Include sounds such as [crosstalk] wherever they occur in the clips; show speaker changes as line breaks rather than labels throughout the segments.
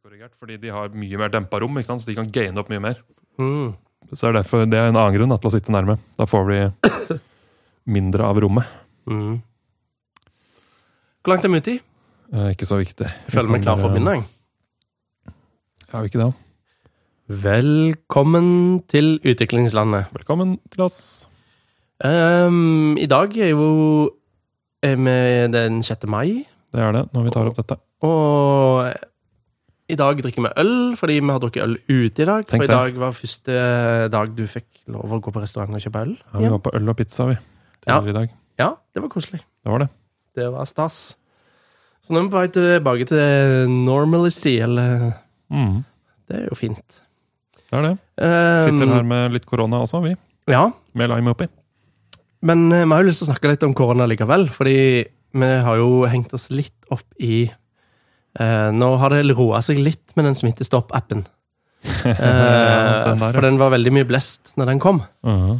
korrigert, fordi de har mye mer dempa rom, ikke sant? så de kan gaine opp mye mer.
Mm.
Så er derfor, Det er en annen grunn da, til å sitte nærme. Da får de
[coughs]
mindre av rommet.
Mm. Hvor langt er vi ute i?
Eh, ikke så viktig.
Jeg føler meg klar for å begynne. jeg.
Er vi ikke det?
Velkommen til utviklingslandet.
Velkommen til oss.
Ehm, I dag er jo er vi den 6. mai,
Det er det, når vi tar opp dette.
og i dag drikker vi øl, fordi vi har drukket øl ute i dag.
Tenk
for i
det.
dag var første dag du fikk lov å gå på restaurant og kjøpe øl.
Ja, vi
igjen.
var på øl og pizza vi.
Ja.
tidligere i dag.
Ja, det var koselig.
Det var det.
Det var stas. Så nå er vi på vei tilbake til normalcy, eller
Mm.
Det er jo fint.
Det er det.
Ehm,
Sitter her med litt korona også, vi.
Ja,
Med lime oppi.
Men eh, vi har jo lyst til å snakke litt om korona likevel, fordi vi har jo hengt oss litt opp i eh, Nå har det roa seg litt med den smittestopp-appen.
[laughs]
Eh,
Ja, den der,
For
ja.
den var veldig mye blest når den kom.
Mhm.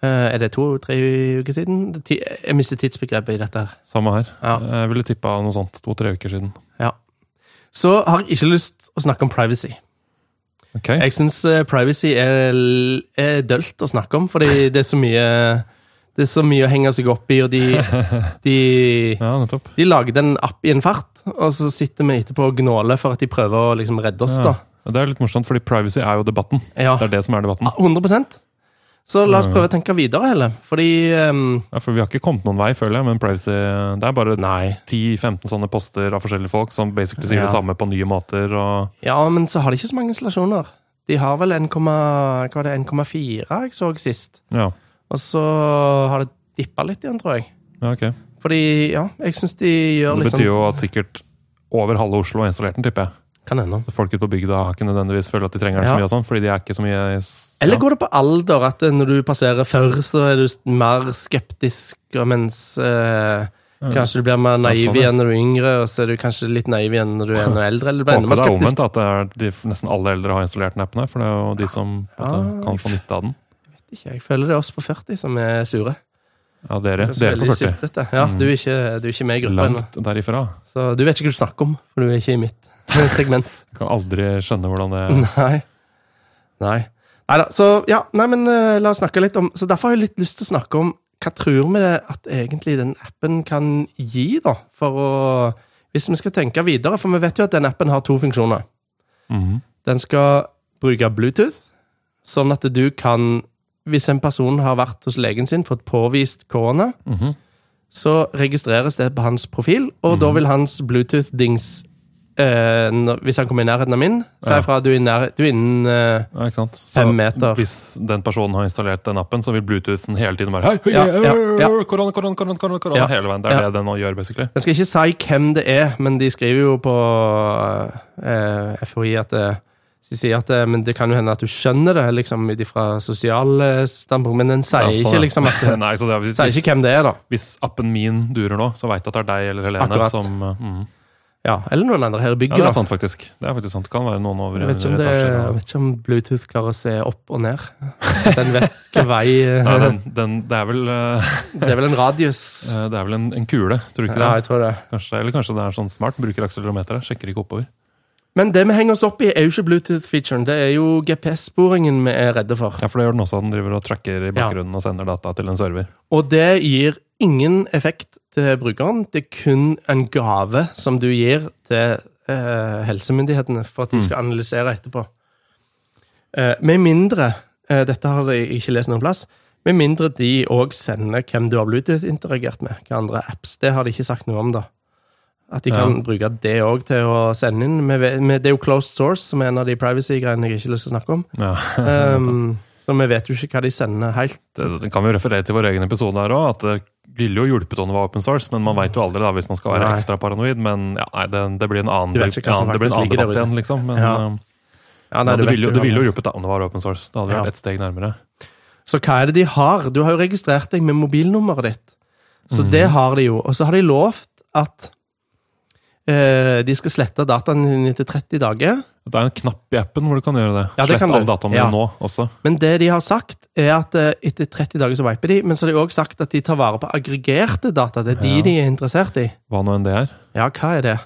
Eh, er det to-tre uker siden? Det er ti- Jeg mister tidsbegrepet i dette. her.
Samme her. Eh,
Ja.
Jeg ville tippa noe sånt to-tre uker siden.
Så har jeg ikke lyst å snakke om privacy.
Ok,
Jeg syns privacy er, l- er dølt å snakke om, fordi det er så mye det er så mye å henge seg opp i, og
[laughs]
de, de
Ja, nettopp.
De lagde en app i en fart, og så sitter vi etterpå og gnåler for at de prøver å liksom redde oss.
Ja.
da.
Det er litt morsomt, fordi privacy er jo debatten.
Ja,
Det er det som er debatten.
Ah, 100 Så la oss
Ja.
prøve å tenke videre, heller. Fordi ehm,
Ja, for Vi har ikke kommet noen vei, føler jeg, men privacy Det er bare
Nei.
10-15 sånne poster av forskjellige folk som basically sier
Ja.
det samme på nye måter. Og
Ja, men så har de ikke så mange installasjoner. De har vel 1,4 hva var det, 1,4 jeg så sist.
ja,
Og så har det dippa litt igjen, tror jeg.
ja ok.
Fordi, ja, jeg syns de gjør
Det
litt
betyr
sånn
jo at sikkert over halve Oslo har installert den, tipper jeg.
Kan hende.
Så folk ute på bygda har ikke nødvendigvis følt at de trenger den
Ja.
så mye, og sånn, fordi de er ikke så mye i s-
Eller
ja.
går det på alder, at eh, når du passerer før, så er du s- mer skeptisk, og mens eh, kanskje du blir mer naiv
Ja, sånn, ja.
igjen når du er yngre, og så er du kanskje litt naiv igjen når du er noe eldre, eller du blir enda
Håper
mer
det er
skeptisk.
omvendt, at det er de, nesten alle eldre har installert den appen her. For det er jo de som på en måte,
Ja.
kan få nytte av den.
Ikke, Jeg føler det er oss på 40 som er sure.
Ja, dere,
Det er så
dere på
veldig
40.
sutrete. Ja,
Mm.
du er, ikke, du er ikke med i gruppa ennå,
Langt derifra.
så du vet ikke hva du snakker om, for du er ikke i mitt [laughs] segment.
Jeg kan aldri skjønne hvordan det
[laughs] Nei. Nei. Neida, Så ja, nei, men eh, la oss snakke litt om Så derfor har jeg litt lyst til å snakke om hva tror vi det at egentlig den appen kan gi, da? For å Hvis vi skal tenke videre, for vi vet jo at den appen har to funksjoner.
Mhm.
Den skal bruke Bluetooth, sånn at du kan Hvis en person har vært hos legen sin, fått påvist korona,
Mhm.
så registreres det på hans profil, og da vil hans Bluetooth-dings eh, når- Hvis han kommer i nærheten av min, si
Ja.
ifra at du er i nærhe- du er innen eh,
Ja, ikke sant?
Fem meter.
Hvis den personen har installert den appen, så vil Bluetoothen hele tiden bare Hei, hei,
Ja,
hei,
ja, ja.
korona, korona, korona, korona, korona
Ja.
hele veien. Det er
Ja.
det den nå gjør, basically.
Jeg skal ikke si hvem det er, men de skriver jo på eh, FHI at det, de sier at det, men det kan jo hende at du skjønner det liksom, ut ifra sosiale standpunkt, men den sier
Ja, sånn, ja.
ikke liksom
[laughs]
at
Nei, så det er, hvis,
Sier ikke hvem det er, da.
hvis appen min durer nå, så veit jeg at det er deg eller Helene
Akkurat.
som uh, mm.
Ja, eller noen andre her i
Ja,
bygget.
det er
da.
sant, faktisk. Det er faktisk sant. Det kan være noen over
Jeg vet, ikke om det, jeg
etasjen.
vet ikke om Bluetooth klarer å se opp og ned. Den vet
[laughs]
hvilken vei
Nei,
eh,
den, den, det er vel, uh,
[laughs] Det er vel en radius.
det er vel en, en kule, tror du ikke
Ja,
det?
jeg tror det.
Kanskje, eller kanskje det er sånn smart, bruker akselerometeret, sjekker ikke oppover.
Men det vi henger oss opp i, er jo ikke Bluetooth-featuren. Det er jo GPS-sporingen vi er redde for.
Ja, for det gjør den også. Den driver og tracker i bakgrunnen og sender data til en server.
Og det gir ingen effekt til brukeren. Det er kun en gave som du gir til eh, helsemyndighetene for at de
Mm.
skal analysere etterpå. Eh, med mindre eh, Dette har jeg ikke lest noen plass. Med mindre de òg sender hvem du har Bluetooth-interagert med. Hva andre apps. Det har de ikke sagt noe om, da. At de
Ja.
kan bruke det òg til å sende inn. Med, med, det er jo closed source, som er en av de privacy-greiene jeg ikke har lyst til å snakke om.
Ja.
Ehm, så vi vet jo ikke hva de sender helt.
det, det kan eh, vi jo referere til vår egen episode her òg, at det ville jo hjulpet om det var open source, men man veit jo aldri da, hvis man skal være
Nei.
ekstra paranoid. Men ja, nei, det, det blir en annen,
Du
ja,
vet ikke hva som
det blir en
faktisk
annen
ligger
debatt
der ute.
igjen, liksom. Men
Ja.
eh,
Ja,
men
du
det,
vet
ville, jo- det
hva-
ville jo hjulpet da, om det var open source. Da hadde vi
Ja.
vært et steg nærmere.
Så hva er det de har? Du har jo registrert deg med mobilnummeret ditt. Så
Mhm.
det har de jo. Og så har de lovt at eh, de skal slette dataen din etter 30 dager.
Det er en knapp i appen hvor du kan gjøre det.
Ja,
Slett
det kan du.
all dataen din
Ja.
nå også.
Men det de har sagt, er at eh, etter 30 dager så viper de. Men så har de òg sagt at de tar vare på aggregerte data. Det er de
Ja.
de er interessert i.
Hva nå enn det er.
Ja, hva er det?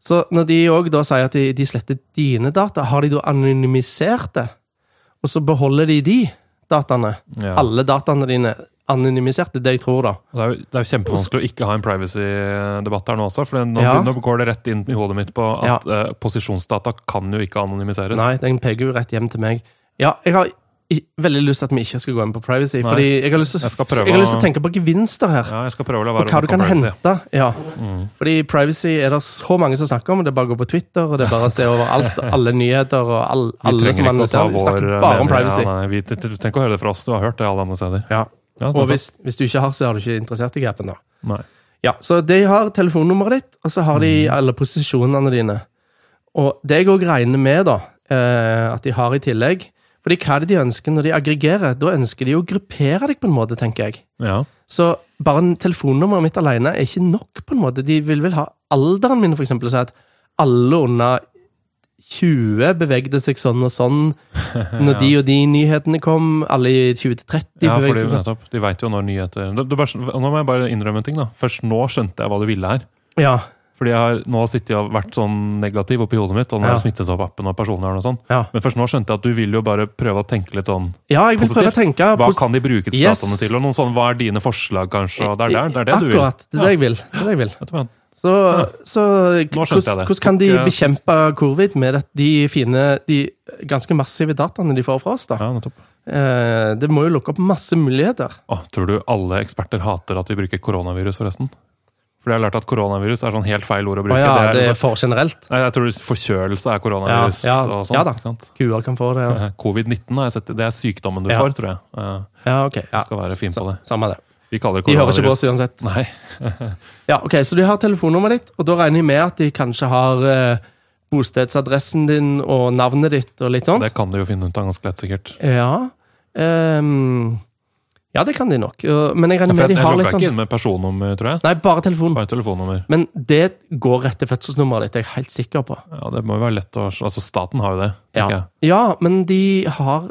Så når de òg da sier at de, de sletter dine data, har de da anonymisert det? Og så beholder de de dataene?
Ja.
Alle dataene dine anonymisert? Det er det jeg tror, da.
Og Det er, jo- det er jo kjempevanskelig å ikke ha en privacy-debatt her nå også. For det- nå,
Ja.
nå går det rett inn i hodet mitt på at eh, posisjonsdata kan jo ikke anonymiseres.
Nei, den peker jo rett hjem til meg. Ja, jeg har i, veldig lyst til at vi ikke skal gå inn på privacy,
Nei.
fordi jeg har lyst til,
Jeg skal
jeg
prøve
jeg har lyst
å-
til å tenke på gevinster her.
Ja, jeg skal prøve å la
Og
være
hva
å snakke om
du kan
privacy.
hente. Ja.
Mm.
Fordi privacy er det så mange som snakker om, det er bare å gå på Twitter, og det er bare å se over
[laughs]
alt, alle nyheter og all,
Vi
alle
trenger
som
ikke å ta
analyserer. Vi
vår
snakker
eh,
bare
mening.
om privacy.
Ja, nei, vi t- t- trenger ikke å høre det fra oss. Du har hørt det alle andre steder.
Ja.
Ja,
Og
nettopp.
hvis, hvis du ikke har, så har du ikke interessert deg i appen, da.
Nei. Mhm.
Ja, så de har telefonnummeret ditt, og så har de alle posisjonene dine. Og det jeg òg regner med, da, eh, at de har i tillegg Fordi hva er det de ønsker når de aggregerer? Da ønsker de jo å gruppere deg, på en måte, tenker jeg.
Ja.
Så bare en telefonnummeret mitt alene er ikke nok, på en måte. De vil vel ha alderen min, for eksempel, og si at alle under 20 bevegde seg sånn og sånn
[laughs]
når de og de nyhetene kom. Alle i 20 til 30
Ja,
bevegde
fordi,
seg sånn.
nettopp, de veit jo når nyheter det, det, bare- Nå må jeg bare innrømme en ting. da Først nå skjønte jeg hva du ville her.
Ja,
Fordi jeg har nå sittet og vært sånn negativ oppi hodet mitt. Og nå
Ja.
har det smittet seg opp appen og personvern og sånn.
ja.
Men først nå skjønte jeg at du vil jo bare prøve å tenke litt sånn
ja, jeg vil prøve å
Positivt.
tenke
Hva kan de bruke til
Yes.
dataene til? Og noen sånn, hva er dine forslag, kanskje? Og det er der, det er det du vil.
Akkurat. Det er det jeg vil. Det er det jeg vil.
Vet du hva?
Så, så
skjønte jeg
hvordan
det.
hvordan kan de
Tok, eh,
bekjempe covid med det- de fine, de ganske massive dataene de får fra oss? da?
Ja, nettopp.
Eh, Det må jo lukke opp masse muligheter.
Å, tror du alle eksperter hater at vi bruker koronavirus, forresten? For jeg har lært at koronavirus er sånn helt feil ord å
Å
bruke.
ja,
det er
det er
liksom,
for generelt.
nei, jeg tror forkjølelse er koronavirus
Ja, ja,
og sånn.
ja da.
ikke sant?
Kuer kan få det. Ja,
Eh, Covid-19 har jeg sett, det er sykdommen du
Ja.
får, tror jeg. Eh,
ja ok. Ja.
skal være fin på
Sa-
det.
Samme det.
Vi kaller det
De hører ikke på oss
koronavirus.
uansett.
Nei.
Ja, ok, Så de har telefonnummeret ditt, og da regner jeg med at de kanskje har eh, bostedsadressen din og navnet ditt og litt sånt?
Det kan de jo finne ut av ganske lett, sikkert.
Ja. ehm, ja, det kan de nok. Eh, Men jeg
Ja, for
regner med
jeg
de
jeg
har
logga
litt
ikke
sånn
inn med personnummer, tror jeg.
Nei, bare telefon.
Bare telefonnummer.
Men det går rett til fødselsnummeret ditt, er jeg helt sikker på.
Ja, Det må jo være lett å Altså, staten har jo det. tenker
Ja,
jeg.
ja men de har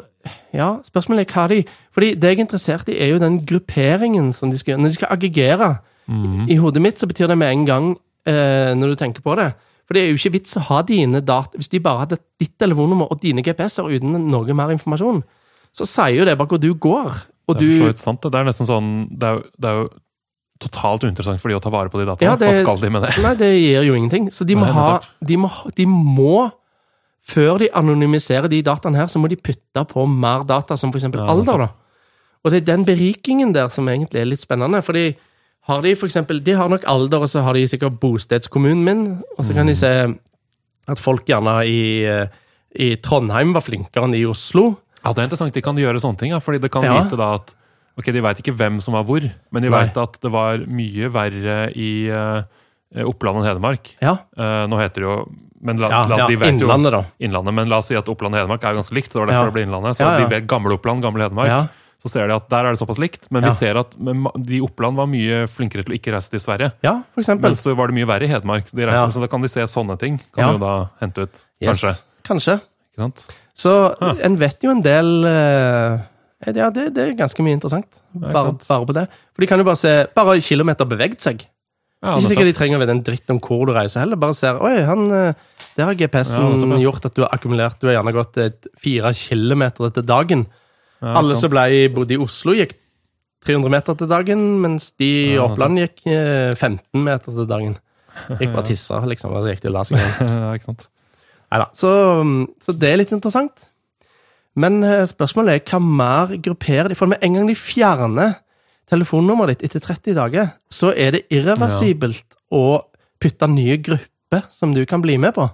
Ja, spørsmålet er hva de Fordi det jeg er interessert i, er jo den grupperingen som de skal gjøre. Når de skal aggregere
Mhm.
I hodet mitt så betyr det med en gang, eh, når du tenker på det For det er jo ikke vits å ha dine data Hvis de bare hadde ditt telefonnummer og dine GPS-er uten noe mer informasjon, så sier jo det bare hvor du går. Og
Det er for så
du
vidt sant. Det Det er nesten sånn Det er, jo- det er jo totalt uinteressant for de å ta vare på de dataene.
Ja, det-
Hva skal de med det?
Nei, det gir jo ingenting. Så de må
Nei,
ha
nettopp.
de må, ha- de må Før de anonymiserer de dataene her, så må de putte på mer data, som f.eks.
Ja,
alder. da. Og det er den berikingen der som egentlig er litt spennende. fordi har de for eksempel, de har nok alder, og så har de sikkert bostedskommunen min. Og så
Mm.
kan de se at folk gjerne i, eh, i Trondheim var flinkere enn i Oslo.
Ja, det er interessant. De kan gjøre sånne ting, ja. Fordi det kan
Ja.
vite da at Ok, de veit ikke hvem som var hvor, men de
Nei.
veit at det var mye verre i eh, Oppland og Hedmark.
Ja,
Eh, nå heter det jo Men la,
ja,
la,
ja
de vet jo
Innlandet, da.
Innlandet, men la oss si at Oppland og Hedmark er ganske likt. Det var derfor
Ja.
det ble Innlandet. Så
Ja,
de
ja.
vet gamle Oppland, gamle Hedmark.
Ja.
Så ser de at der er det såpass likt. Men
Ja.
vi ser at men ma- de i Oppland var mye flinkere til å ikke reise til Sverige.
ja, for eksempel.
Men så var det mye verre i Hedmark. De reiste,
Ja.
Så da kan de se sånne ting. Kan
Ja.
de jo da hente ut,
Yes.
kanskje.
Kanskje.
Ikke sant?
Så
Ah.
en vet jo en del eh, Ja, det, det er ganske mye interessant.
ikke
Bare,
sant.
bare på det. For de kan jo bare se Bare kilometer beveget seg.
Ja,
Ikke
nettopp.
sikkert de trenger å vite en dritt om hvor du reiser heller. Bare ser Oi, han, eh, der har
Ja,
GPS-en
nettopp, ja.
gjort at du har akkumulert Du har gjerne gått eh, fire kilometer til dagen.
Ja, ikke
Alle
sant.
som ble, bodde i Oslo, gikk 300 meter til dagen, mens de i
Ja, nettopp.
Oppland gikk eh, 15 meter til dagen. Gikk bare tissa, liksom, og så gikk de og la seg
[laughs]
igjen.
ja, ikke sant?
Neida, Så, så det er litt interessant. Men eh, spørsmålet er hva mer grupperer de? For med en gang de fjerner telefonnummeret ditt etter 30 dager, så er det irreversibelt å putte nye grupper som du kan bli med på.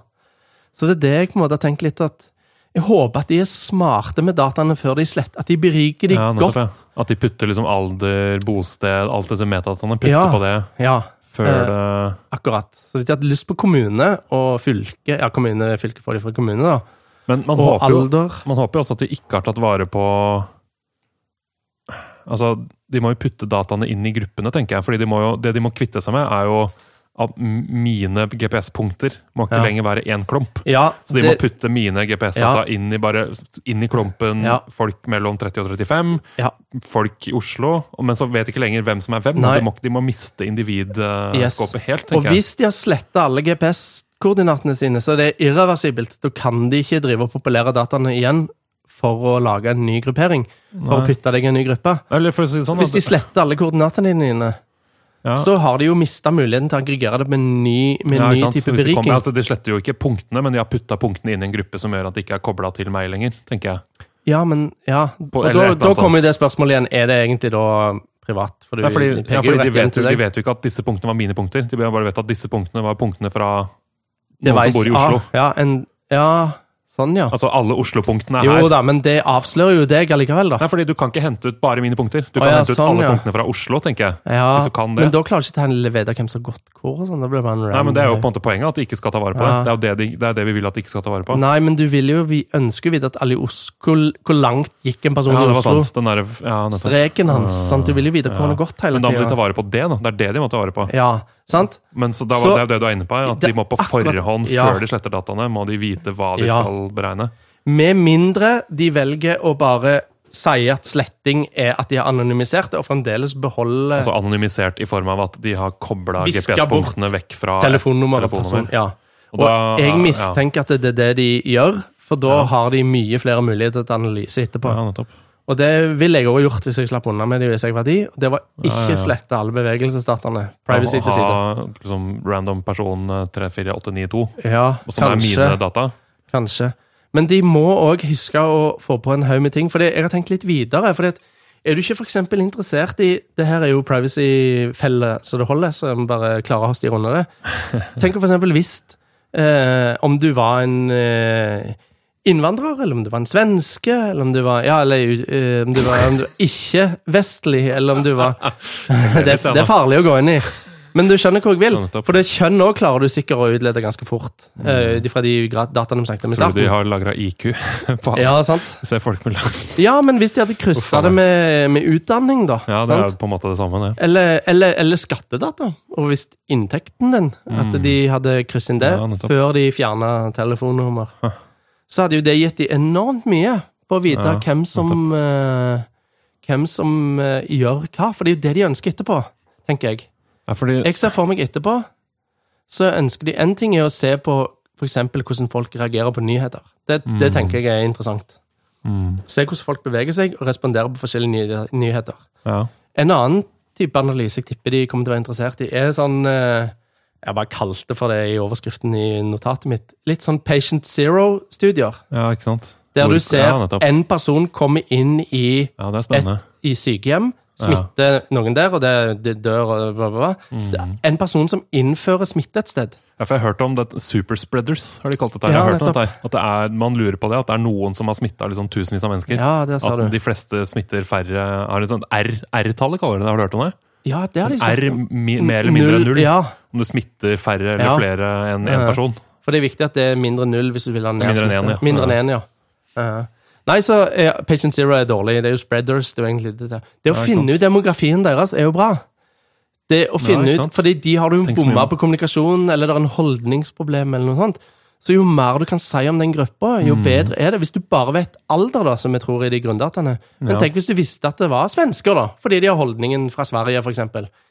Så det er det jeg på en måte har tenkt litt at Jeg håper at de er smarte med dataene før de sletter. At de beriker de
Ja, nettopp
godt.
ja. At de putter liksom alder, bosted, alt disse metadataene putter
Ja.
på det
Ja,
før
Eh.
det
akkurat. Så hvis de hadde lyst på kommune og fylke Ja, kommune, fylke får de fra kommune, da.
Men man
Og
håper jo
alder.
Man håper jo også at de ikke har tatt vare på Altså, de må jo putte dataene inn i gruppene, tenker jeg. Fordi de må jo, det de må kvitte seg med, er jo at m- mine GPS-punkter må ikke
Ja.
lenger være én klump.
Ja,
Så de må putte mine
Ja.
GPS-data inn, i bare, inn i klumpen
Ja.
folk mellom 30 og 35,
Ja.
folk i Oslo, og- men så vet de ikke lenger hvem som er hvem.
Nei.
De må, ikke- de må miste individskåpet
Yes.
helt,
Og
tenker jeg.
hvis de har sletta alle GPS koordinatene sine, så det er irreversibelt. Da kan de ikke drive og populere dataene igjen for å lage en ny gruppering. For å
Nei.
putte deg i en ny gruppe.
Eller for å si det sånn
Hvis de sletter alle koordinatene dine,
ja.
så har de jo mista muligheten til å aggregere det med en ny, med en
Ja, ikke
ny
sant?
type
Hvis det
beriking.
kommer- altså, de sletter jo ikke punktene, men de har putta punktene inn i en gruppe som gjør at de ikke er kobla til meg lenger. tenker jeg.
Ja, men ja.
På- eller
Og
et
da,
eller
da
annet
kommer
sånt.
jo det spørsmålet igjen. Er det egentlig da privat? For du
Nei, fordi,
peker
ja,
jo
fordi de,
rett hjem
vet jo,
til
de
deg.
vet jo ikke at disse punktene var mine punkter. De bare vet at disse punktene var punktene fra
Det
noen
veis-
som bor i Oslo.
Ah, ja, en, ja, sånn, ja.
Altså alle Oslo-punktene er
Jo
her.
da, men det avslører jo deg allikevel, da.
Nei, fordi du kan ikke hente ut bare mine punkter. Du
Å,
kan
ja,
hente ut
sånn,
alle
ja.
punktene fra Oslo, tenker jeg.
Ja,
Hvis du kan det.
men da klarer ikke til å vite hvem som har gått hvor. og Sånn. Da blir det bare en
Nei,
random-
men Det er jo på en måte poenget, at de ikke skal ta vare på
Ja.
det. Det er jo det, de, det, er det vi vil at de ikke skal ta vare på.
Nei, men du vil jo, vi ønsker jo vite at alle i Oslo, hvor, hvor langt gikk en person
Ja,
i
det var
Oslo?
sant. Den der, ja, nettopp.
Streken hans. sant? Du vil jo vite hvor
Ja.
han har gått hele
Men da må de ta
tida.
vare på det, da. Det er det de må ta vare på.
Ja, sant?
Men så da var
Så-
det er jo det du er inne på, at
Det
de må på
er akkurat-
forhånd,
ja.
før de sletter dataene, må de vite hva de
Ja.
skal beregne.
Med mindre de velger å bare si at sletting er at de har anonymisert det, og fremdeles beholde
Altså anonymisert i form av at de har kobla
Viska
GPS-punktene vekk fra et
telefonnummer og person.
telefonnummer.
Ja.
Og
Og
da-
jeg
ja,
mistenker at det er det de gjør, for da har de mye flere muligheter til analyse etterpå.
Ja, nettopp.
Og det ville jeg også gjort hvis jeg slapp unna med det hvis jeg var de. Og det var
Ja, ja,
ikke
ja.
slette alle bevegelsesdataene. Privacy
Å
til side.
Ha liksom, random person eh, 34892,
Ja,
og som er
kanskje.
mine data.
Kanskje. Men de må òg huske å få på en haug med ting. For det- jeg har tenkt litt videre. For er du ikke for eksempel interessert i Det her er jo privacy-felle så det holder, så jeg må bare klare å styre unna det. Tenk for eksempel hvis eh, Om du var en eh, innvandrer, eller om du var en svenske, eller om du var Ja, eller eh, om du var, om du var ikke-vestlig, eller om du var [laughs] det, det er farlig å gå inn i. Men du skjønner hvor jeg vil.
Ja, nettopp.
For det kjønn òg klarer du sikkert å utlede ganske fort. eh, Ut ifra de gra- dataene vi snakket om i
Mm. Tror du de
starten.
har lagra [laughs] IQ på
Ja, sant?
Se folk med lang
ja, men hvis de hadde kryssa
Uff,
det
faen.
med, med utdanning, da.
Ja, det er
sant?
jo på en måte det samme, det.
Eller, eller, eller skattedata. Og hvis inntekten din At de hadde krysset inn det
Mm. Ja, nettopp.
før de fjerna telefonnummer. Så hadde jo det gitt de enormt mye på å vite
Ja,
hvem som eh, Hvem som eh, gjør hva. For det er jo det de ønsker etterpå, tenker jeg.
Ja, fordi,
Jeg ser for meg etterpå, så ønsker de En ting er å se på f.eks. hvordan folk reagerer på nyheter. Det, det tenker jeg er interessant.
mm,
Se hvordan folk beveger seg og responderer på forskjellige ny- nyheter.
ja.
En annen type analyse jeg tipper de kommer til å være interessert i, er sånn eh, Jeg bare kalte det for det i overskriften i notatet mitt. Litt sånn Patient Zero-studier.
ja, ikke sant?
Der
Hvor-
du ser
ja, nettopp.
en person komme inn i
Ja, det er spennende.
i sykehjem, smitter noen der, og det, det dør og bla, bla, bla. Det
Mm.
er En person som innfører smitte et sted.
Ja, for jeg har hørt om det, superspreaders, har de kalt dette. her.
Ja,
jeg har hørt om
nettopp.
dette. her. At det er, man lurer på det, at det er noen som har smitta liksom, tusenvis av mennesker.
Ja, det sa
at
du.
de fleste smitter færre har et sånt R, R-tallet, kaller de det. Har du hørt om det?
Ja, det har de sagt.
R mi, mer eller mindre enn null.
Ja,
Om du smitter færre eller
Ja.
flere enn én
Ja.
person.
for det er viktig at det er mindre enn null hvis du vil ha ned
Mindre enn en,
smitte.
ja.
Mindre enn en, ja. Eh, Nei, så eh, Patient Zero er dårlig. Det er jo spreaders. Det er jo egentlig det. der. Det
Ja, ikke
å
sant.
finne ut demografien deres er jo bra. Det å finne
ikke sant.
ut, fordi de har du jo
Tenk så mye
bomma
om-
på kommunikasjon, eller det er en holdningsproblem, eller noe sånt. Så jo mer du kan si om den gruppa, jo
Mm.
bedre er det. Hvis du bare vet alder, da, som jeg tror i de grunndataene. Men
Ja.
tenk hvis du visste at det var svensker, da. Fordi de har holdningen fra Sverige, f.eks.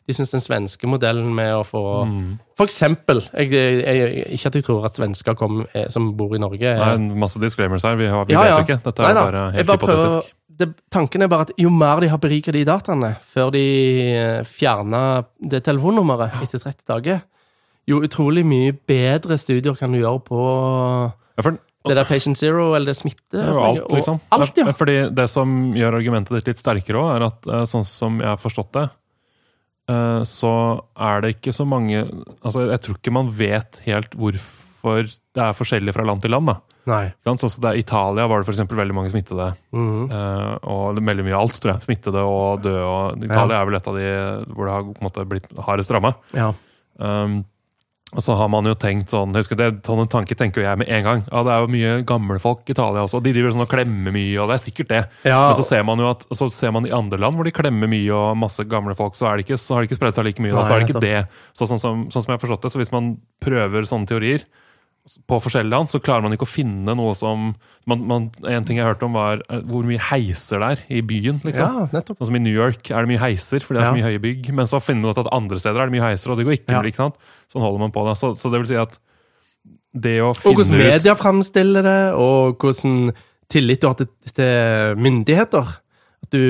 De syns den svenske modellen med å få
Mm.
For eksempel. Jeg, jeg, jeg, ikke at jeg tror at svensker kom, eh, som bor i Norge,
Det
er
er en masse disclaimers her. Vi, har, vi vet jo ikke. Dette er
Neida.
jo bare
Jeg
helt
prøver-
hypotetisk.
det, tanken er bare at jo mer de har beriket de dataene før de eh, fjerner det telefonnummeret etter 30 dager, jo utrolig mye bedre studier kan du gjøre på
Ja, for,
det der Patient Zero eller det smitte.
det er jo alt,
og-
liksom.
Alt, ja.
Fordi det som gjør argumentet ditt litt sterkere òg, er at eh, sånn som jeg har forstått det, eh, så er det ikke så mange Altså, jeg tror ikke man vet helt hvorfor det er forskjellig fra land til land, da.
Nei.
Ikke sant? Sånn som det er I Italia var det for eksempel veldig mange smittede.
Mhm.
Eh, og det- veldig mye av alt, tror jeg. Smittede og døde. Og Italia er vel et av de hvor det har på en måte, blitt hardest ramma.
Ja.
Um, og så har man jo tenkt sånn husker du, det, Sånne tanker tenker jo jeg med en gang. Ja, Det er jo mye gamle folk i Italia også, og de driver sånn og klemmer mye. og det er sikkert det.
Ja.
Men så ser man jo at og så ser man i andre land hvor de klemmer mye og masse gamle folk, så, er det ikke, så har det ikke spredt seg like mye. da,
Nei,
så er det ikke det. Så, sånn, som, sånn som jeg har forstått det, så hvis man prøver sånne teorier på forskjellige land, så klarer man ikke å finne noe som man, man, En ting jeg hørte om, var eh, hvor mye heiser det er i byen. liksom.
ja, nettopp.
Sånn som I New York er det mye heiser, fordi det er så
Ja.
mye høye bygg. Men så finner du ut at andre steder er det mye heiser, og det går ikke.
Ja.
ikke sant? Sånn holder man på det. Så, så det vil si at det å
Og hvordan
finne ut
media framstiller det, og hvordan tillit du har til, til myndigheter. At du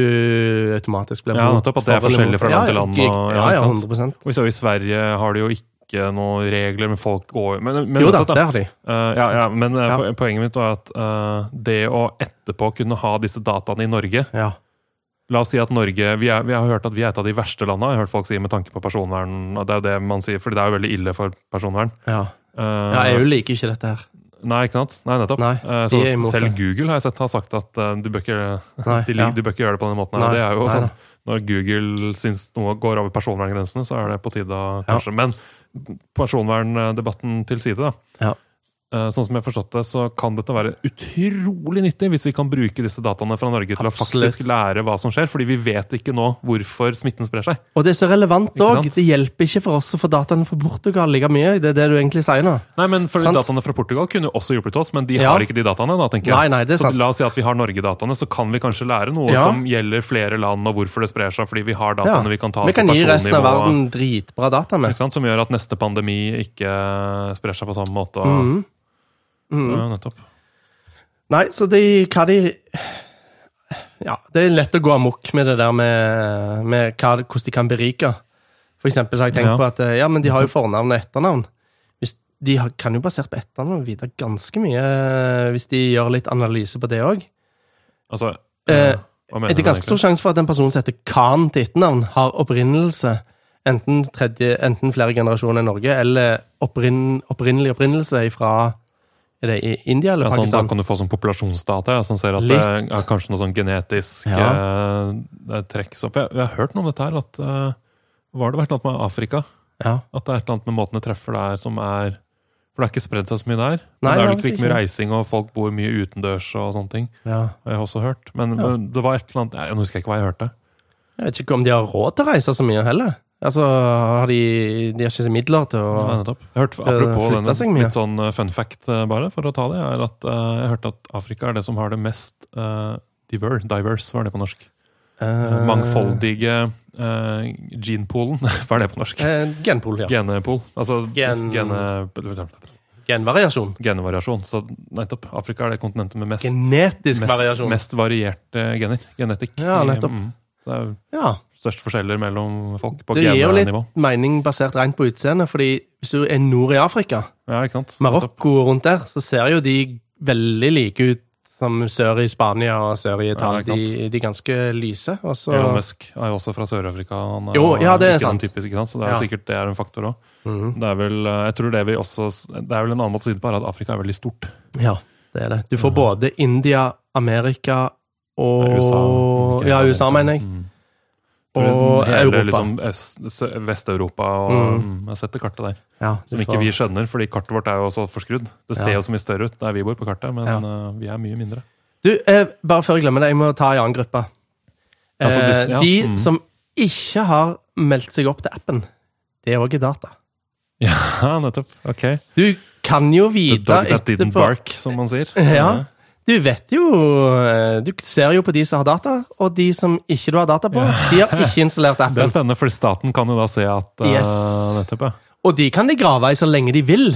automatisk blir
Ja,
mot-
nettopp, at det er
for eller
forskjellig fra
mot-
land til land,
Ja, ja,
og-
Ja,
ja,
ja,
ikke
100
Og så I Sverige har de jo ikke noen regler, men folk går Men, men,
Jo da,
uansett, da.
det har de.
Eh, ja, ja, men eh,
Ja.
po- poenget mitt var at eh, det å etterpå kunne ha disse dataene i Norge
Ja.
La oss si at Norge Vi, er, vi har hørt at vi er et av de verste landa, jeg har hørt folk si med tanke på personvern. og Det er jo det man sier, fordi det er jo veldig ille for personvern.
Ja.
Eh,
ja, E EU liker ikke dette her.
Nei, ikke sant? Nei, nettopp.
Nei,
Eh,
de
så
er imot
selv
det.
Google har jeg sett har sagt at eh, du, bør ikke,
Nei,
[laughs] de, lig-
ja.
du bør ikke gjøre det på den måten. her, og
Nei,
det er jo
nei
sånn,
da.
Når Google syns noe går over personverngrensene, så er det på tide å
Ja.
kanskje. Men personverndebatten til side, da.
Ja.
Eh, Sånn som jeg har forstått det, så kan dette være utrolig nyttig hvis vi kan bruke disse dataene fra Norge til å
Absolutt.
faktisk lære hva som skjer, fordi vi vet ikke nå hvorfor smitten sprer seg.
Og det er så relevant
Ikke
òg.
sant?
Det hjelper ikke for oss å få dataene fra Portugal like mye. Det er det du egentlig sier nå.
Nei, men for
Sant.
Dataene fra Portugal kunne jo også hjulpet oss, men de
Ja.
har ikke de dataene. da, tenker jeg.
Nei, nei, det er
så
sant.
la oss si at vi har Norge-dataene, så kan vi kanskje lære noe
Ja.
som gjelder flere land, og hvorfor det sprer seg, fordi vi har
Ja.
dataene vi kan ta
Vi kan
på
gi resten av
personnivå,
verden dritbra data med.
Ikke sant? Som gjør at neste pandemi ikke sprer seg på samme måte. Og,
Mhm. Mhm.
ja, nettopp.
Nei, så de, hva de Ja, det er lett å gå amok med det der med, med hva, hvordan de kan berike. For eksempel så har jeg tenkt
Ja.
på at eh, ja, men de har jo fornavn og etternavn. Hvis, de har, kan jo basert på etternavn vite ganske mye eh, hvis de gjør litt analyse på det òg.
Altså,
Eh,
eh, hva
Er
mener
det
du
ganske stor
egentlig?
sjanse for at en person som heter Khan til etternavn, har opprinnelse enten, tredje, enten flere generasjoner i Norge eller opprinn, opprinnelig opprinnelse fra er det i India eller
Ja, sånn, da
Pakistan?
kan du få sånn populasjonsdata ja, som ser at
Litt.
det er kanskje noe sånn genetisk eh, trekk. Så, for jeg, jeg har hørt noe om dette her, at eh, var det vært noe med Afrika?
ja.
At det er et eller annet med måten det treffer der som er For det har ikke spredd seg så mye der. Men
Nei,
det er vel ikke
det har det
like mye
ikke.
reising, og folk bor mye utendørs og sånne ting.
ja.
har jeg også hørt. Men,
Ja.
men det var et eller annet Nei, Nå husker jeg ikke hva jeg hørte.
Jeg vet ikke om de har råd til å reise så mye heller. Altså, har de, de har ikke så midler til å
Nei, nettopp. Jeg hørte,
Det
apropos
flytta
denne,
seg mye.
litt sånn eh, fun fact, eh, bare for å ta det, er at eh, jeg hørte at Afrika er det som har det mest eh, diver, diverse, hva er det på norsk?
eh,
Mangfoldige eh, genpoolen, [laughs] hva er det på norsk?
Eh, genpol, ja.
Genepol. Altså
Gen-
gene,
Genvariasjon.
genvariasjon. Så nettopp. Afrika er det kontinentet med mest
Genetisk
mest,
variasjon.
mest varierte gener. Genetikk.
Ja,
i-
nettopp.
mm. Det er
Ja.
størst forskjeller mellom folk på
Det gir jo litt
genenivå.
mening basert rent på utseendet, fordi hvis du er nord i Afrika,
Ja, ikke sant? Nettopp.
Marokko og rundt der, så ser jo de veldig like ut som sør i Spania og sør i Italia.
det er
de, de er ganske lyse. Og så
Elon Musk er jo også fra Sør-Afrika. Han er
Jo, ja, det er
ikke
sant.
den typiske, ikke sant? Så det er
Ja.
jo sikkert det er en faktor òg.
Mhm.
Det er vel eh, jeg tror det vi også, s- det er vel en annen måte å si det på, er at Afrika er veldig stort.
Ja, det er det. Du får
Mhm.
både India, Amerika og
Nei, USA. ikke
ja,
Amerika.
USA, mener jeg.
Mm.
Og
Tror hele,
Europa.
Liksom, øst, Sø- Vest-Europa og
Mm.
mm. Jeg har sett det kartet der.
Ja, du
Som ikke
får-
vi skjønner, fordi kartet vårt er jo så forskrudd. Det ser
Ja.
jo så mye større ut der vi bor på kartet, men
Ja.
eh, vi er mye mindre.
Du, eh, bare før jeg glemmer det, jeg må ta en annen gruppe. Eh,
Altså disse, ja.
De
Mm.
som ikke har meldt seg opp til appen, det er òg data.
[laughs] Ja, nettopp. Ok.
Du kan jo
The
vite
dog that didn't
etterpå
bark, som man sier.
[laughs] Ja. Du vet jo eh, Du ser jo på de som har data, og de som ikke du har data på, de har ikke installert
[laughs] Det er
appen.
spennende, for staten kan jo da se at eh,
Yes.
nettopp, ja.
Og de kan de grave i så lenge de vil.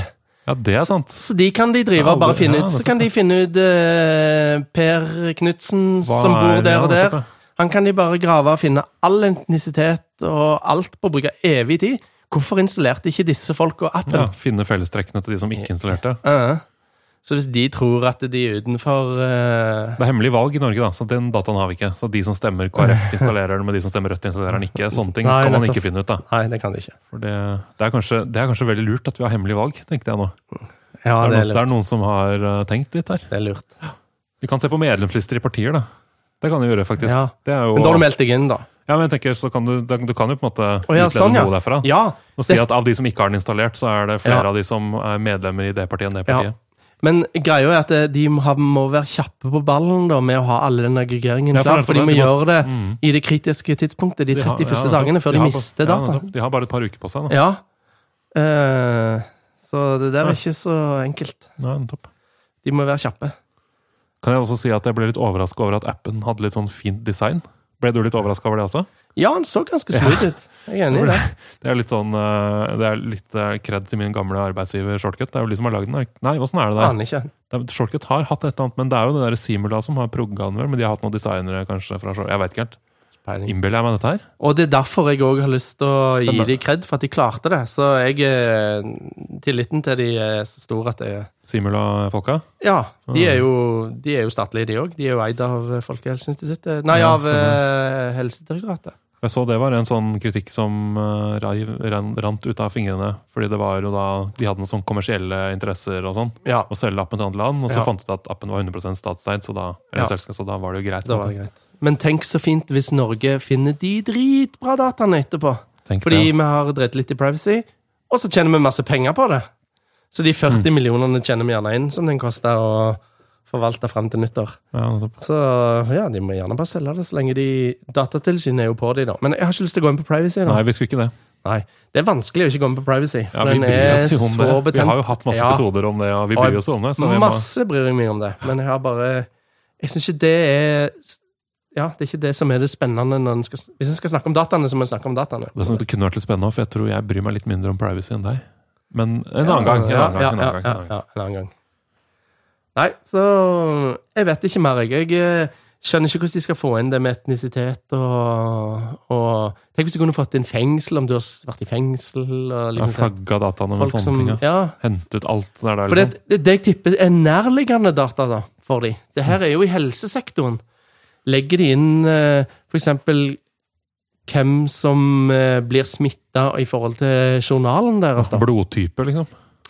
ja, det er sant.
Så de kan de drive
Ja,
og bare
det-
finne
ja,
ut. Så
nettopp.
kan de finne ut eh, Per Knutsen
Hva
som bor
er-
der
ja,
og der.
nettopp,
Han kan de bare grave og finne all etnisitet og alt på å bruke evig tid. Hvorfor installerte ikke disse folka
Ja,
appen?
finne fellestrekkene til de som ikke installerte.
Eh, så hvis de tror at de er utenfor eh,
Det er hemmelig valg i Norge, da, så den dataen har vi ikke. Så de som stemmer
[laughs]
KrF, installerer den, men de som stemmer Rødt, installerer den ikke. Sånne ting
Nei,
kan man
nettopp.
ikke finne ut, da.
Nei, det kan de ikke.
For det, det, er kanskje, det er kanskje veldig lurt at vi har hemmelig valg, tenkte jeg nå.
Ja,
det, er noen,
det er
det
lurt.
er noen som har eh, tenkt litt her.
Det er lurt.
Vi kan se på medlemslister i partier, da. Det kan du gjøre, faktisk.
Ja.
Det er jo,
Men da har du meldt deg inn, da.
ja, men jeg tenker, så kan du, da- du kan jo på en måte
Å, ja,
utlede
sånn, ja.
noe derfra.
Ja,
Og si at av de som ikke har den installert, så er det flere
Ja.
av de som er medlemmer i det partiet enn det
Ja.
partiet.
Men greia er at eh, de må ha- må være kjappe på ballen da, med å ha alle den aggregeringen
Ja, for
klar,
det er
for
for
de må
det, de må-
gjøre det
Mm.
i det kritiske tidspunktet, de
De har-
31.
ja, nettopp.
dagene, før de,
har-
mister
ja,
data.
nettopp. de har bare et par uker på seg. Da.
Ja. Eh, så det der er ikke så enkelt.
Nei, nettopp.
De må være kjappe.
Kan jeg også si at jeg ble litt overraska over at appen hadde litt sånn fint design? Ble du litt overraska over det også?
Ja, han så ganske smooth ut. Jeg er enig i det.
Det er litt sånn eh, Det er litt eh, cred til min gamle arbeidsgiver Shortcut. Det er jo de som har lagd den. er ikke- [laughs] Nei, åssen er det der?
Aner ikke.
Det er- Shortcut har hatt et eller annet, men det er jo det der Simula som har progga den vel. Men de har hatt noen designere, kanskje, fra Shortcut. Jeg vet ikke helt.
Mm.
Innbiller jeg meg dette her?
Og det er derfor jeg òg har lyst til å gi
Den der-
dem kred for at de klarte det. Så jeg eh, Tilliten til de er så stor at jeg
Simula-folka?
Ja. De
Mm.
er jo, de er jo statlige, de òg. De er jo eid av Folkehelseinstituttet Nei,
Ja,
av eh, Helsedirektoratet.
Jeg så det var en sånn kritikk som eh, reiv- ran- rant ut av fingrene. Fordi det var jo da De hadde noen sånne kommersielle interesser og sånn.
Ja,
Å selge appen til andre land. Og så
Ja.
fant de ut at appen var 100 statseid, så da, eller
Ja.
selskap, så da var det jo greit.
det var greit. Men tenk så fint hvis Norge finner de dritbra dataene etterpå.
Tenk
Fordi
det.
vi har drevet litt i privacy, og så tjener vi masse penger på det. Så
Mm.
de 40 millionene tjener vi gjerne inn, som den koster å forvalte fram til nyttår.
Ja, nettopp.
Så ja, de må gjerne bare selge det, så lenge de Datatilsynet er jo på de, da. Men jeg har ikke lyst til å gå inn på privacy. da.
Nei, vi skulle ikke det.
Nei. Det er vanskelig å ikke gå inn på privacy.
Ja, vi
for den
bryr
er
oss jo om det.
så
Vi
betent.
har jo hatt masse
Ja.
episoder om det, og vi
Og
bryr oss jo om det. Så Altså, vi må,
Masse bryr jeg meg om det, men jeg har bare Jeg syns ikke det er Ja, det er ikke det som er det spennende når en skal Hvis en skal snakke om dataene, så må en snakke om dataene.
det, er sånn at det kunne vært litt spennende, for jeg tror jeg bryr meg litt mindre om privacy enn deg. Men en
Ja,
annen gang. En
ja,
annen gang, en
ja,
annen gang, en annen gang.
ja, ja, en annen gang. Nei, så Jeg vet ikke mer, jeg. Jeg eh, skjønner ikke hvordan de skal få inn det med etnisitet og, og Tenk hvis de kunne fått inn fengsel, om du har s- vært i fengsel og
Jeg har
liksom, sånn.
flagga dataene med
Folk som-
sånne ting. Ja.
Ja,
Hentet alt det der.
for det,
Liksom.
det, det jeg tipper er nærliggende data da, for de. Det her er jo i helsesektoren. Legger de inn eh, for eksempel hvem som eh, blir smitta i forhold til journalen deres, da?
Blodtype, liksom.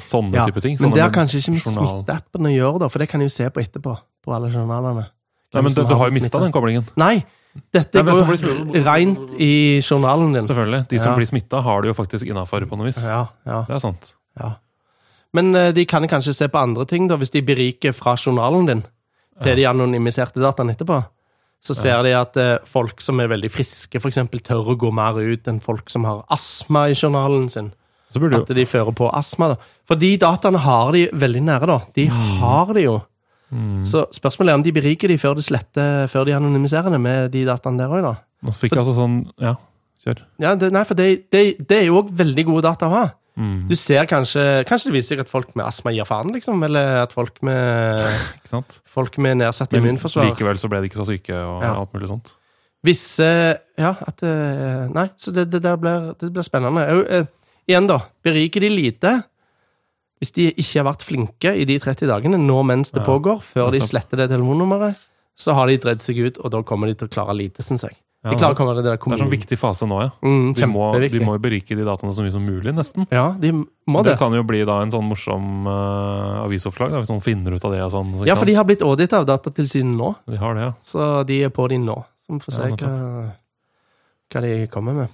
Sånne type ting.
Men
Sånne
det har kanskje ikke med
journal.
smitteappen å gjøre, da, for det kan jeg jo se på etterpå. På alle journalene.
Nei, men du, du har jo mista den koblingen.
Nei! Dette
Nei, men så
går
blir det-
rent i journalen din.
Selvfølgelig. De som
Ja.
blir smitta, har det jo faktisk innafor på noe vis.
Ja, ja,
Det er sant.
ja. Men eh, de kan kanskje se på andre ting, da, hvis de beriker fra journalen din til de anonymiserte dataene etterpå. Så ser de at eh, folk som er veldig friske, f.eks., tør å gå mer ut enn folk som har astma i journalen sin.
Så burde
At
jo
de fører på astma. da. For de dataene har de veldig nære, da. De har de jo.
mm.
Så spørsmålet er om de beriker de før de sletter, før de anonymiserer det med de dataene der òg, da.
Nå fikk jeg altså sånn Ja, kjør.
Ja, det, nei, for det, det, det er jo òg veldig gode data å ha.
Mm,
Du ser kanskje Kanskje det viser seg at folk med astma gir faen, liksom? Eller at folk med,
ikke sant?
folk med nedsatt
Men
immunforsvar
likevel så ble de ikke så syke og
Ja.
alt mulig sånt.
Visse Ja, at eh, Nei, så det, det der blir, det blir spennende. Jeg- eh, igjen, da. Beriker de lite hvis de ikke har vært flinke i de 30 dagene, nå mens det
Ja,
pågår, før de
nettopp.
sletter det telefonnummeret, så har de dredd seg ut, og da kommer de til å klare lite, syns jeg.
Ja,
De klarer å komme til det der
Det er en
kommunen.
sånn viktig fase nå, ja.
Mm,
Vi må, vi
kjempeviktig.
må jo berike de dataene så mye som mulig, nesten.
Ja, de må
det.
det.
kan jo bli da en sånn morsom eh, avisoppslag, da, hvis noen finner ut av det. og Sånn, så
Ja,
ikke
for de har blitt audita av Datatilsynet nå,
sant? de har det, ja.
så de er på de nå. Så vi får se
Ja,
hva, hva de kommer med.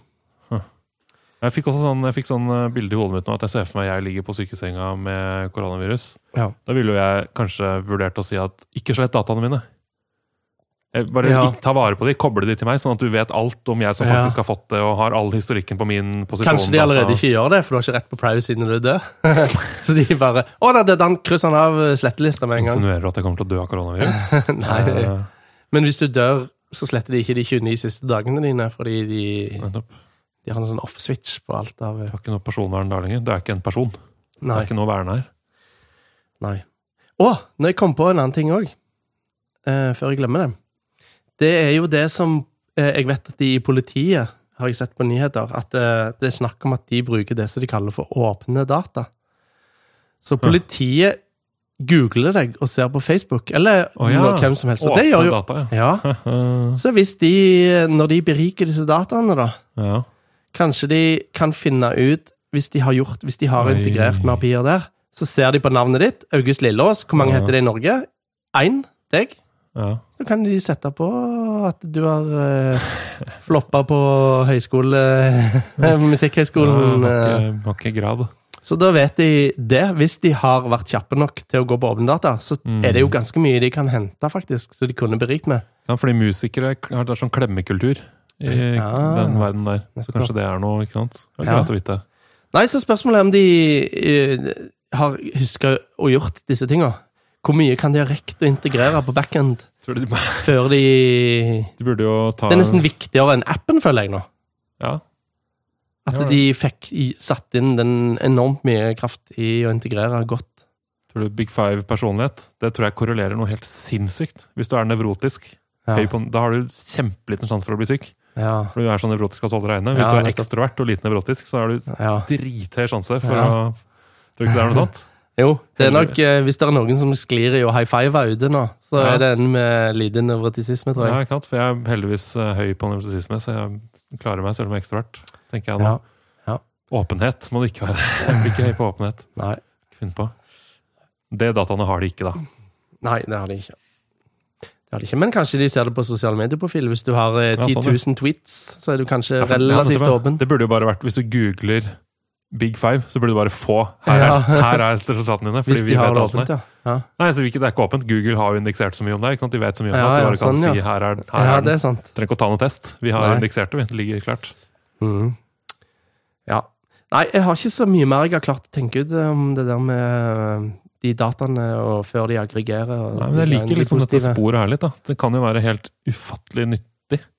Jeg fikk også sånn, jeg fikk sånn eh, bilde i hodet mitt nå at jeg ser for meg jeg ligger på sykesenga med koronavirus.
Ja.
Da ville jo jeg kanskje vurdert å si at ikke slett dataene mine. Jeg bare
Ja.
ikke ta vare på de, koble de til meg, sånn at du vet alt om jeg som
Ja.
faktisk har fått det, og har all historikken på min posisjon.
Kanskje de allerede ikke gjør det, for du har ikke rett på privacy når du dør. [laughs] så de bare Å, der døde han! Kryss han av eh, slettelista med en gang.
Insinuerer at jeg kommer til å dø av koronavirus.
[laughs] Nei.
Eh,
Men hvis du dør, så sletter de ikke de 29 siste dagene dine, fordi de,
nettopp.
de har en sånn off-switch på alt av eh,
Jeg har ikke noe personvern der lenger. Det er ikke en person. Det
Nei.
er ikke noe å verne her.
nei. Å, når jeg kom på en annen ting òg, eh, før jeg glemmer det. Det er jo det som eh, jeg vet at de i politiet har jeg sett på nyheter, at eh, det er snakk om at de bruker det som de kaller for åpne data. Så politiet googler deg og ser på Facebook, eller
Å ja.
når, hvem som helst. Og
Åpne
det gjør jo
data, ja. [laughs]
ja. Så hvis de, når de beriker disse dataene, da
ja.
Kanskje de kan finne ut, hvis de har, gjort, hvis de har
Oi.
integrert med API-er der, så ser de på navnet ditt, August Lilleås, hvor mange
Ja.
heter det i Norge? Én, deg.
ja.
Så kan de sette på at du
[laughs]
har uh, floppa på høyskole, eh, musikkhøyskolen.
Ja, har
eh.
ikke- har ikke grad.
Så da vet de det. Hvis de har vært kjappe nok til å gå på åpne data, så
Mm.
er det jo ganske mye de kan hente, faktisk, så de kunne berikt med.
Ja, fordi musikere har det er sånn klemmekultur i
Ja.
den verden der. Så
Nettopp.
kanskje det er noe, ikke sant? Det er
Ja.
greit å vite.
Nei, så spørsmålet er om de eh, har huska og gjort disse tinga. Hvor mye kan de ha rekt å integrere på backend?
Tror du de,
før de
de burde jo ta
Det er nesten viktigere enn appen, føler jeg nå.
Ja.
At
Ja, det.
de fikk i, satt inn den enormt mye kraft i å integrere godt.
Tror du Big Five-personlighet Det tror jeg korrelerer noe helt sinnssykt. Hvis du er nevrotisk,
Ja.
høy på, da har du kjempeliten sjanse for å bli syk.
Ja,
For du er så nevrotisk at du holder deg inne. Hvis
Ja,
du er
nettopp.
ekstrovert og lite nevrotisk, så har du
ja.
drithøy sjanse for
Ja.
å Tror du ikke det er noe
[laughs]
sånt?
Jo, det er nok eh, hvis det er noen som sklir i å high five ute nå, så
Ja.
er det en med lite nevrotisisme, tror
Ja,
jeg.
ikke sant? For jeg er heldigvis eh, høy på nevrotisisme, så jeg klarer meg selv om jeg er ekstrovert. tenker jeg nå.
Ja.
Åpenhet må du ikke være. [laughs] Jeg blir ikke høy på åpenhet.
Nei.
Finn på. Det dataene har de ikke, da.
Nei, det har de ikke. Det har de ikke. Men kanskje de ser det på sosiale medieprofil. Hvis du har eh,
Ja,
10
sånn, ja.
000 tweets, så er du kanskje
Ja, for- ja,
relativt
nettopp, ja.
åpen.
Det burde jo bare vært, Hvis du googler Big Five, så burde du bare få Her er,
Ja.
[laughs] her er resultatene dine. fordi
Hvis
vi
de har
vet
det
alt
åpent, ja. Ja,
Nei, så vi ikke- Det er ikke åpent. Google har jo indeksert så mye om deg. ikke sant? De vet så mye om
Ja,
deg at
ja,
du bare kan
sånn, ja.
si her er, her
ja
er
det
den.
er sant.
Trenger ikke å ta noe test. Vi har
Nei.
indeksert det. vi. Det ligger klart.
Mhm. Ja. Nei, jeg har ikke så mye mer jeg har klart å tenke ut eh, om det der med eh, de dataene og før de aggregerer. Og
Nei, men Jeg
de
liker
greiene, de
liksom dette
positive.
sporet her litt. da. Det kan jo være helt ufattelig nytt.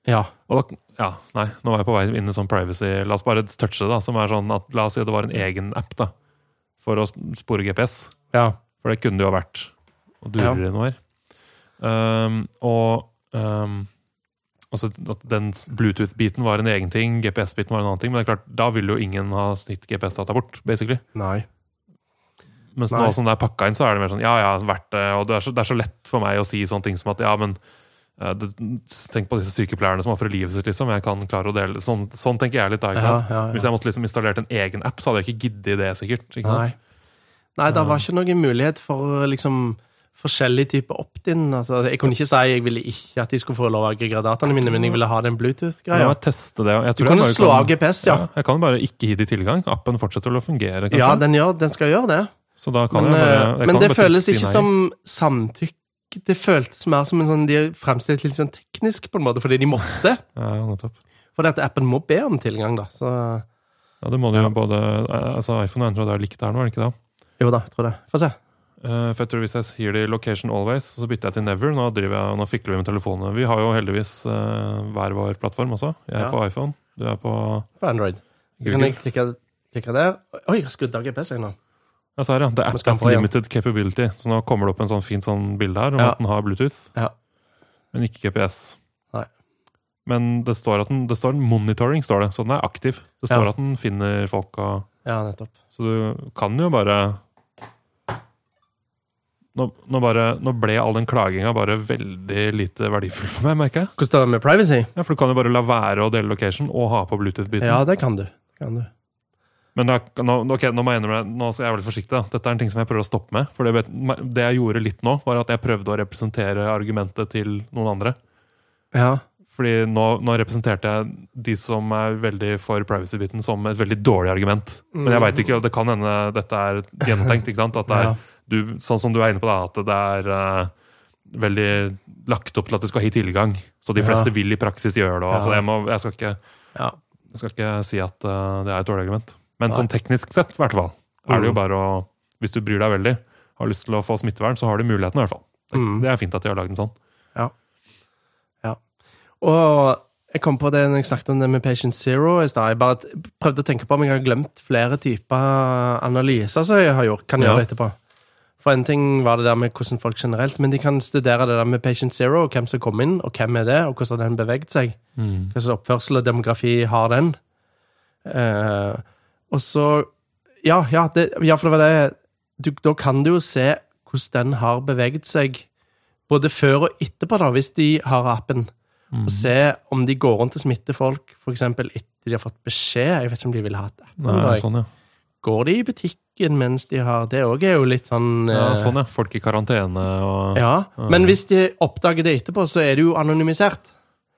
Ja.
Og da, ja, nei, nå var jeg på vei inn i sånn privacy. La oss bare touche det, da, som er sånn at la oss si at det var en egen app da, for å sp- spore GPS.
ja.
For det kunne det jo ha vært. Og durer det noe her. Um, og um, altså at den s- Bluetooth-biten var en egen ting, GPS-biten var en annen ting. Men det er klart, da vil jo ingen ha snitt GPS-data bort, basically.
Nei.
Mens
Nei.
nå som det er pakka inn, så er det mer sånn ja, ja, verdt det. Og det er, så, det er så lett for meg å si sånne ting som at ja, men eh, det, tenk på disse sykepleierne som ofrer livet sitt, liksom. Jeg kan klare å dele Sånn, sånn tenker jeg litt da. ikke
Ja,
sant?
ja, ja.
Hvis jeg måtte liksom installert en egen app, så hadde jeg ikke giddet det, sikkert. ikke sant?
Nei. Nei, det var ikke noen mulighet for liksom forskjellig type opt-in. Altså, jeg kunne ikke si jeg ville ikke at de skulle få lov å aggregere dataene mine, men jeg ville ha den
Men Jeg
Bluetooth-greia.
må teste det. og Jeg
Du
tror jeg
kunne
bare
slå
kan-
av GPS, ja.
Ja, jeg kan bare ikke gi de tilgang. Appen fortsetter å fungere, kanskje.
Ja, den, gjør, den skal gjøre det.
så da kan
Men,
jeg bare,
eh,
jeg
men
kan
det
bare
føles
si
ikke
nei.
som samtykke. Det føltes mer som en sånn De er fremstilt litt sånn teknisk, på en måte, fordi de måtte.
ja, nettopp.
Fordi at appen må be om tilgang, da. Så
Ja, det må du jo
Ja.
både eh, altså iPhone og Android er likt der nå, er det ikke det?
jo da, jeg tror det. Få se.
Eh, For jeg tror Hvis jeg sier det i Location Always, så bytter jeg til Never. Nå, driver jeg, nå fikler vi med telefonene. Vi har jo heldigvis eh, hver vår plattform også. Jeg er
Ja.
på iPhone, du er på
På Android. Så kan
Google.
jeg klikke, klikke der. Oi, jeg har skrudd av GPS, jeg nå.
Jeg sa det, ja. Det er
Men skal
Apples
han på igjen?
limited capability. Så nå kommer det opp en sånn fint sånn bilde her om
Ja.
at den har Bluetooth,
Ja.
men ikke GPS.
Nei.
Men det står at den det står monitoring, står det, så den er aktiv. Det står
Ja.
at den finner folk og
Ja, nettopp.
Så du kan jo bare nå, nå, bare, nå ble all den klaginga bare veldig lite verdifull for meg, merker jeg.
Hvordan står det med privacy?
Ja, for du kan jo bare la være å dele location og ha på Bluetooth-biten.
Ja, det kan du. Det Kan du.
Men da, nå, ok, nå, må jeg innrømme det. nå skal jeg være litt forsiktig. Da. Dette er en ting som jeg prøver å stoppe med. For det, vet, det jeg gjorde litt nå, var at jeg prøvde å representere argumentet til noen andre.
Ja.
Fordi nå, nå representerte jeg de som er veldig for privacy-biten, som et veldig dårlig argument. Men jeg veit ikke, og det kan hende dette er gjennomtenkt. ikke sant? At det er,
[laughs] Ja.
du, sånn som du er inne på, da, at det er eh, veldig lagt opp til at du skal ha tilgang. Så de
Ja.
fleste vil i praksis gjøre det. og Altså,
Ja.
jeg, må, jeg skal ikke
Ja.
Jeg skal ikke si at eh, det er et dårlig argument. Men
Nei.
sånn teknisk sett, i hvert fall, er det jo
Mm.
bare å Hvis du bryr deg veldig, har lyst til å få smittevern, så har du muligheten, i hvert fall. Det,
Mm.
det er fint at de har lagd den sånn.
Og jeg kom på det når jeg snakket om det med Patient Zero i stad. Jeg bare t- prøvde å tenke på om jeg har glemt flere typer analyser som jeg har gjort. Kan
Ja.
gjøre etterpå. For en ting var det der med hvordan folk generelt, men de kan studere det der med Patient Zero, og hvem som kom inn, og hvem er det, og hvordan har den beveget seg. Hva slags oppførsel og demografi har den? Eh, og så ja, ja, det, ja, for det var det du, Da kan du jo se hvordan den har beveget seg både før og etterpå, da, hvis de har appen. Og se om de går rundt og smitter folk, f.eks. etter de har fått beskjed. Jeg vet ikke om de ville hatt appen.
Nei,
da, jeg.
sånn, ja.
Går de i butikken mens de har Det òg er jo litt sånn
ja.
eh,
Sånn, ja. Folk i karantene og
ja. Men hvis de oppdager det etterpå, så er det jo anonymisert.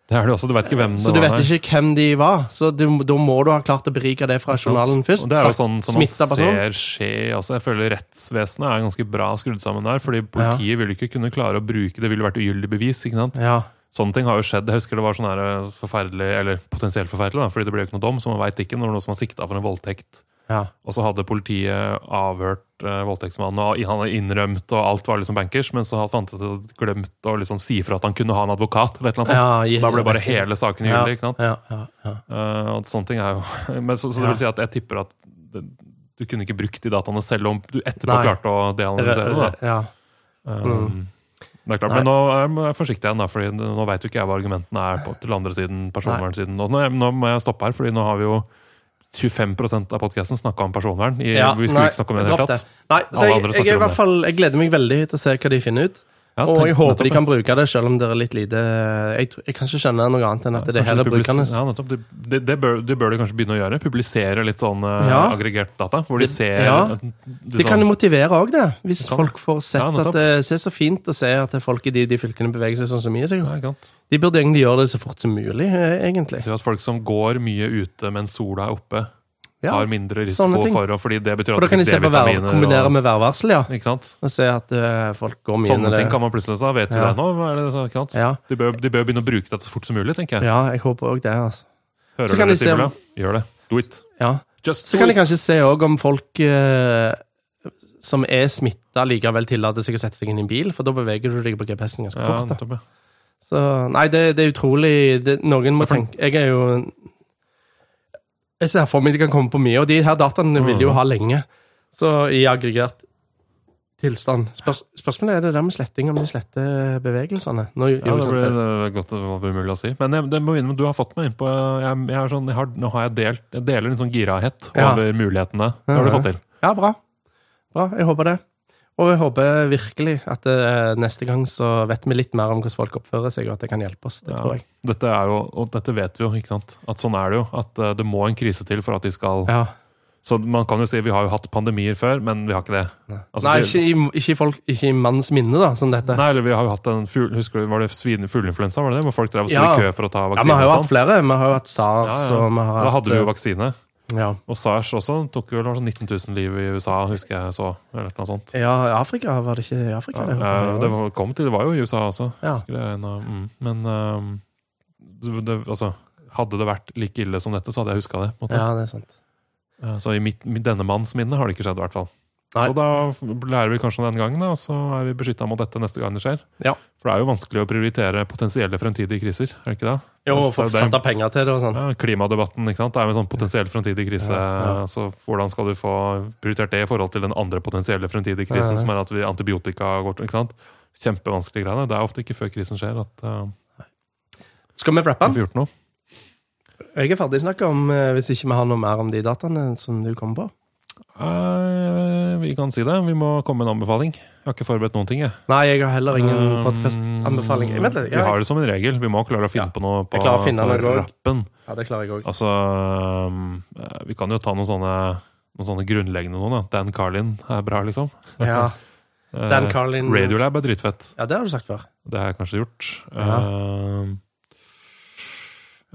Det er det også. Du vet ikke hvem det
Så du
var.
vet
nei.
ikke hvem de var. Så du, da må du ha klart å berike det fra journalen først.
Og det er jo sånn som man
Smittet person.
ser skje altså Jeg føler rettsvesenet er ganske bra skrudd sammen der. Fordi politiet vil ikke kunne klare å bruke det, ville vært ugyldig bevis. ikke sant?
Ja.
Sånne ting har jo skjedd. Jeg husker det var sånn her eh, forferdelig, eller potensielt forferdelig, da, fordi det ble jo ikke noe dom, så man veit ikke når noen som var sikta for en voldtekt.
ja.
Og så hadde politiet avhørt eh, voldtektsmann, og han har innrømt, og alt var liksom bankers, men så har Tante glemt å liksom si fra at han kunne ha en advokat, eller et eller annet sånt.
Ja, gi-
Altså, da ble bare hele saken
Ja,
ugyldig. ikke sant?
ja, ja, ja.
Eh, og sånne ting er jo [laughs] men så, så det
Ja.
vil si at jeg tipper at det, du kunne ikke brukt de dataene selv om du etterpå
Nei.
klarte å deanalysere det. da.
Ja.
Um, Det er klart,
Mm. Nei.
Men nå er- må jeg være forsiktig igjen, da, fordi nå veit jo ikke jeg hva argumentene er på, til andre siden. personvernsiden. Og Nå, nå må jeg stoppe her, fordi nå har vi jo 25 av podkasten snakka om personvern. I,
Ja,
vi skulle
nei,
ikke snakke om det i det
dropp
hele tatt.
Nei, så
Alle
jeg,
andre
jeg,
snakker
er i
om
hvert
det.
fall, jeg gleder meg veldig til å se hva de finner ut.
Ja,
Og
tenk-
jeg håper de
nettopp,
kan bruke det, selv om det er litt lite Jeg, tror- jeg kan ikke skjønne noe annet enn at det
Kanskje
her er
de publis-
brukernes.
Ja, nettopp. Det, det, det, bør, det bør de kanskje begynne å gjøre. Publisere litt sånn eh,
Ja.
aggregert data, hvor de ser
Ja.
eh, du
Det
sa-
kan jo motivere òg, det. Hvis
Det kan
folk får sett
Ja,
at
nettopp.
det ser så fint å se at folk i de, de fylkene beveger seg sånn som mye.
ja,
Så
ikke sant?
de burde egentlig gjøre det så fort som mulig, eh, egentlig.
Så at folk som går mye ute mens sola er oppe,
Ja.
har mindre
sånne
risiko
ting.
for å Fordi det betyr
For
at
da kan de se på vær, kombinere med værvarsel, ja.
Ikke sant?
Og se at eh, folk går mye
Sånne
under
ting
det.
kan man plutselig sa. Vet vi
Ja.
det nå? Hva Er det, så- ikke sant?
Ja.
De, bør, de bør begynne å bruke det så fort som mulig, tenker jeg.
ja, jeg håper òg det. altså.
Hører
Så kan
dere
de se om-
Simula? Gjør det. Do it.
Ja.
Just
Så
do
kan de
it.
kanskje se òg om folk eh, som er smitta, likevel tillater seg å sette seg inn i en bil, for da beveger du deg på GPS-en ganske
ja,
fort. da.
nettopp, ja.
Så nei, det, det er utrolig det, Noen må
Ja, for-
tenke Jeg er jo en- Jeg ser for meg de kan komme på mye, og de her dataene vil de
Mm.
jo ha lenge. Så i aggregert tilstand. Spørs, spørsmålet er det der med sletting, om de sletter bevegelsene. Nå,
Ja,
gjorde
det
jeg
blir
sånn-
eh, godt det var umulig å si. Men jeg, det må jeg innrømme, du har fått meg innpå jeg, jeg er sånn, jeg har, Nå har jeg delt Jeg deler en sånn girahet
Ja.
over mulighetene. Det har du
Ja, ja.
fått til.
Ja, bra. Bra, Jeg håper det. Og jeg håper virkelig at eh, neste gang så vet vi litt mer om hvordan folk oppfører seg, og at det kan hjelpe oss. Det
Ja.
tror jeg.
Dette er jo, og dette vet vi jo, ikke sant? At sånn er det jo. At eh, det må en krise til for at de skal
Ja.
Så man kan jo si vi har jo hatt pandemier før, men vi har ikke det. Altså,
Nei,
det-
ikke i, ikke, i folk, ikke i manns minne, da, som dette.
Nei, eller vi har jo hatt en fugl, husker du, var det svin- fugleinfluensa, var det det? Hvor folk drev og sto
Ja.
i kø for å ta
ja,
vaksine
Vi har
og
jo
sånn.
hatt flere. Vi har jo hatt SARS,
Ja, ja.
og vi har
Da hadde vi jo
hatt eh,
vaksine.
ja.
Og SARS også tok jo det var sånn 19 000 liv i USA, husker jeg så. Eller noe sånt.
ja, i Afrika var det ikke i Afrika?
Ja,
det var-
eh, det var, kom til, det var jo i USA også.
Ja.
husker jeg, en av- mm. Men ehm, det, det, altså, hadde det vært like ille som dette, så hadde jeg huska det. på en måte.
ja, det er sant.
Eh, Så i mitt, mitt- denne manns minne har det ikke skjedd, i hvert fall.
Nei.
Så da f- lærer vi kanskje om den gangen, da, og så er vi beskytta mot dette neste gang det skjer.
Ja.
For det er jo vanskelig å prioritere potensielle fremtidige kriser, er det ikke det?
Jo,
Ja,
folk
det er-
satte av penger til det og sånn.
Ja, klimadebatten, ikke sant? Det er jo en sånn potensiell fremtidig krise.
Ja, ja.
Så hvordan skal du få prioritert det i forhold til den andre potensielle fremtidige
Ja,
krisen,
ja.
som er at vi antibiotika går til, ikke sant? Kjempevanskelige greiene. Det er ofte ikke før krisen skjer at eh,
Skal vi rappe
vi
den?
får gjort noe.
Jeg er ferdig snakka om, eh, hvis ikke vi har noe mer om de dataene som du kom på.
Eh, vi kan si det. Vi må komme med en anbefaling. Jeg har ikke forberedt noen ting, jeg.
Nei, jeg har heller ingen
Um,
podkastanbefaling. Vent litt.
Vi
Jeg,
har det som en regel. Vi må klare å finne
Ja.
på noe på,
Jeg klarer å finne
på
noe også.
rappen.
ja, det klarer jeg òg.
Altså, um, eh, vi kan jo ta noen sånne, noen sånne grunnleggende noen. Da. Dan Carlin er bra, liksom.
Ja,
Eh,
Dan Carlin
Radiolab er dritfett.
Ja, det har du sagt før.
Det har jeg kanskje gjort.
Ja.
Um,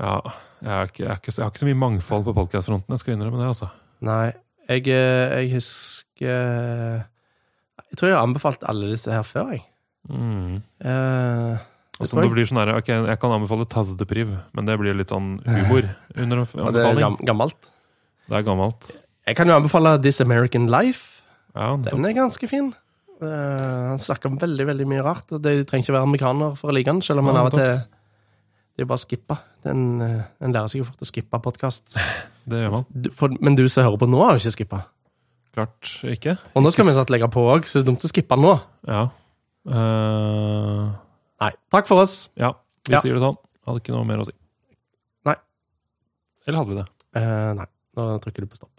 ja jeg, er ikke, jeg, er ikke, så- jeg har ikke så mye mangfold på podkastfronten, jeg skal innrømme det. altså.
Nei, jeg, eh, jeg husker Jeg tror jeg har anbefalt alle disse her før, jeg.
Mm.
Eh,
Og så
tror jeg.
det blir sånn her, ok, Jeg kan anbefale Tazdepriv, men det blir litt sånn humor under
og det er
anbefaling.
gam gammelt.
Det er gammelt.
Jeg kan jo anbefale This American Life.
Ja,
Den er ganske fin. Eh, han snakker om veldig veldig mye rart. og det- Du trenger ikke være amerikaner for å like den, selv om han
Ja,
av og til Det er bare å skippe. Den, eh, den lærer seg jo fort å skippe podkast.
det gjør man.
Men du som hører på nå, har jo ikke skippa.
Klart ikke.
Og nå skal vi satt legge på òg, så det er dumt å skippe nå.
Ja. Eh,
Nei. Takk for oss.
ja, vi
Ja.
sier det sånn. Hadde ikke noe mer å si.
Nei.
Eller hadde vi det?
Eh, nei, nå trykker du på stopp.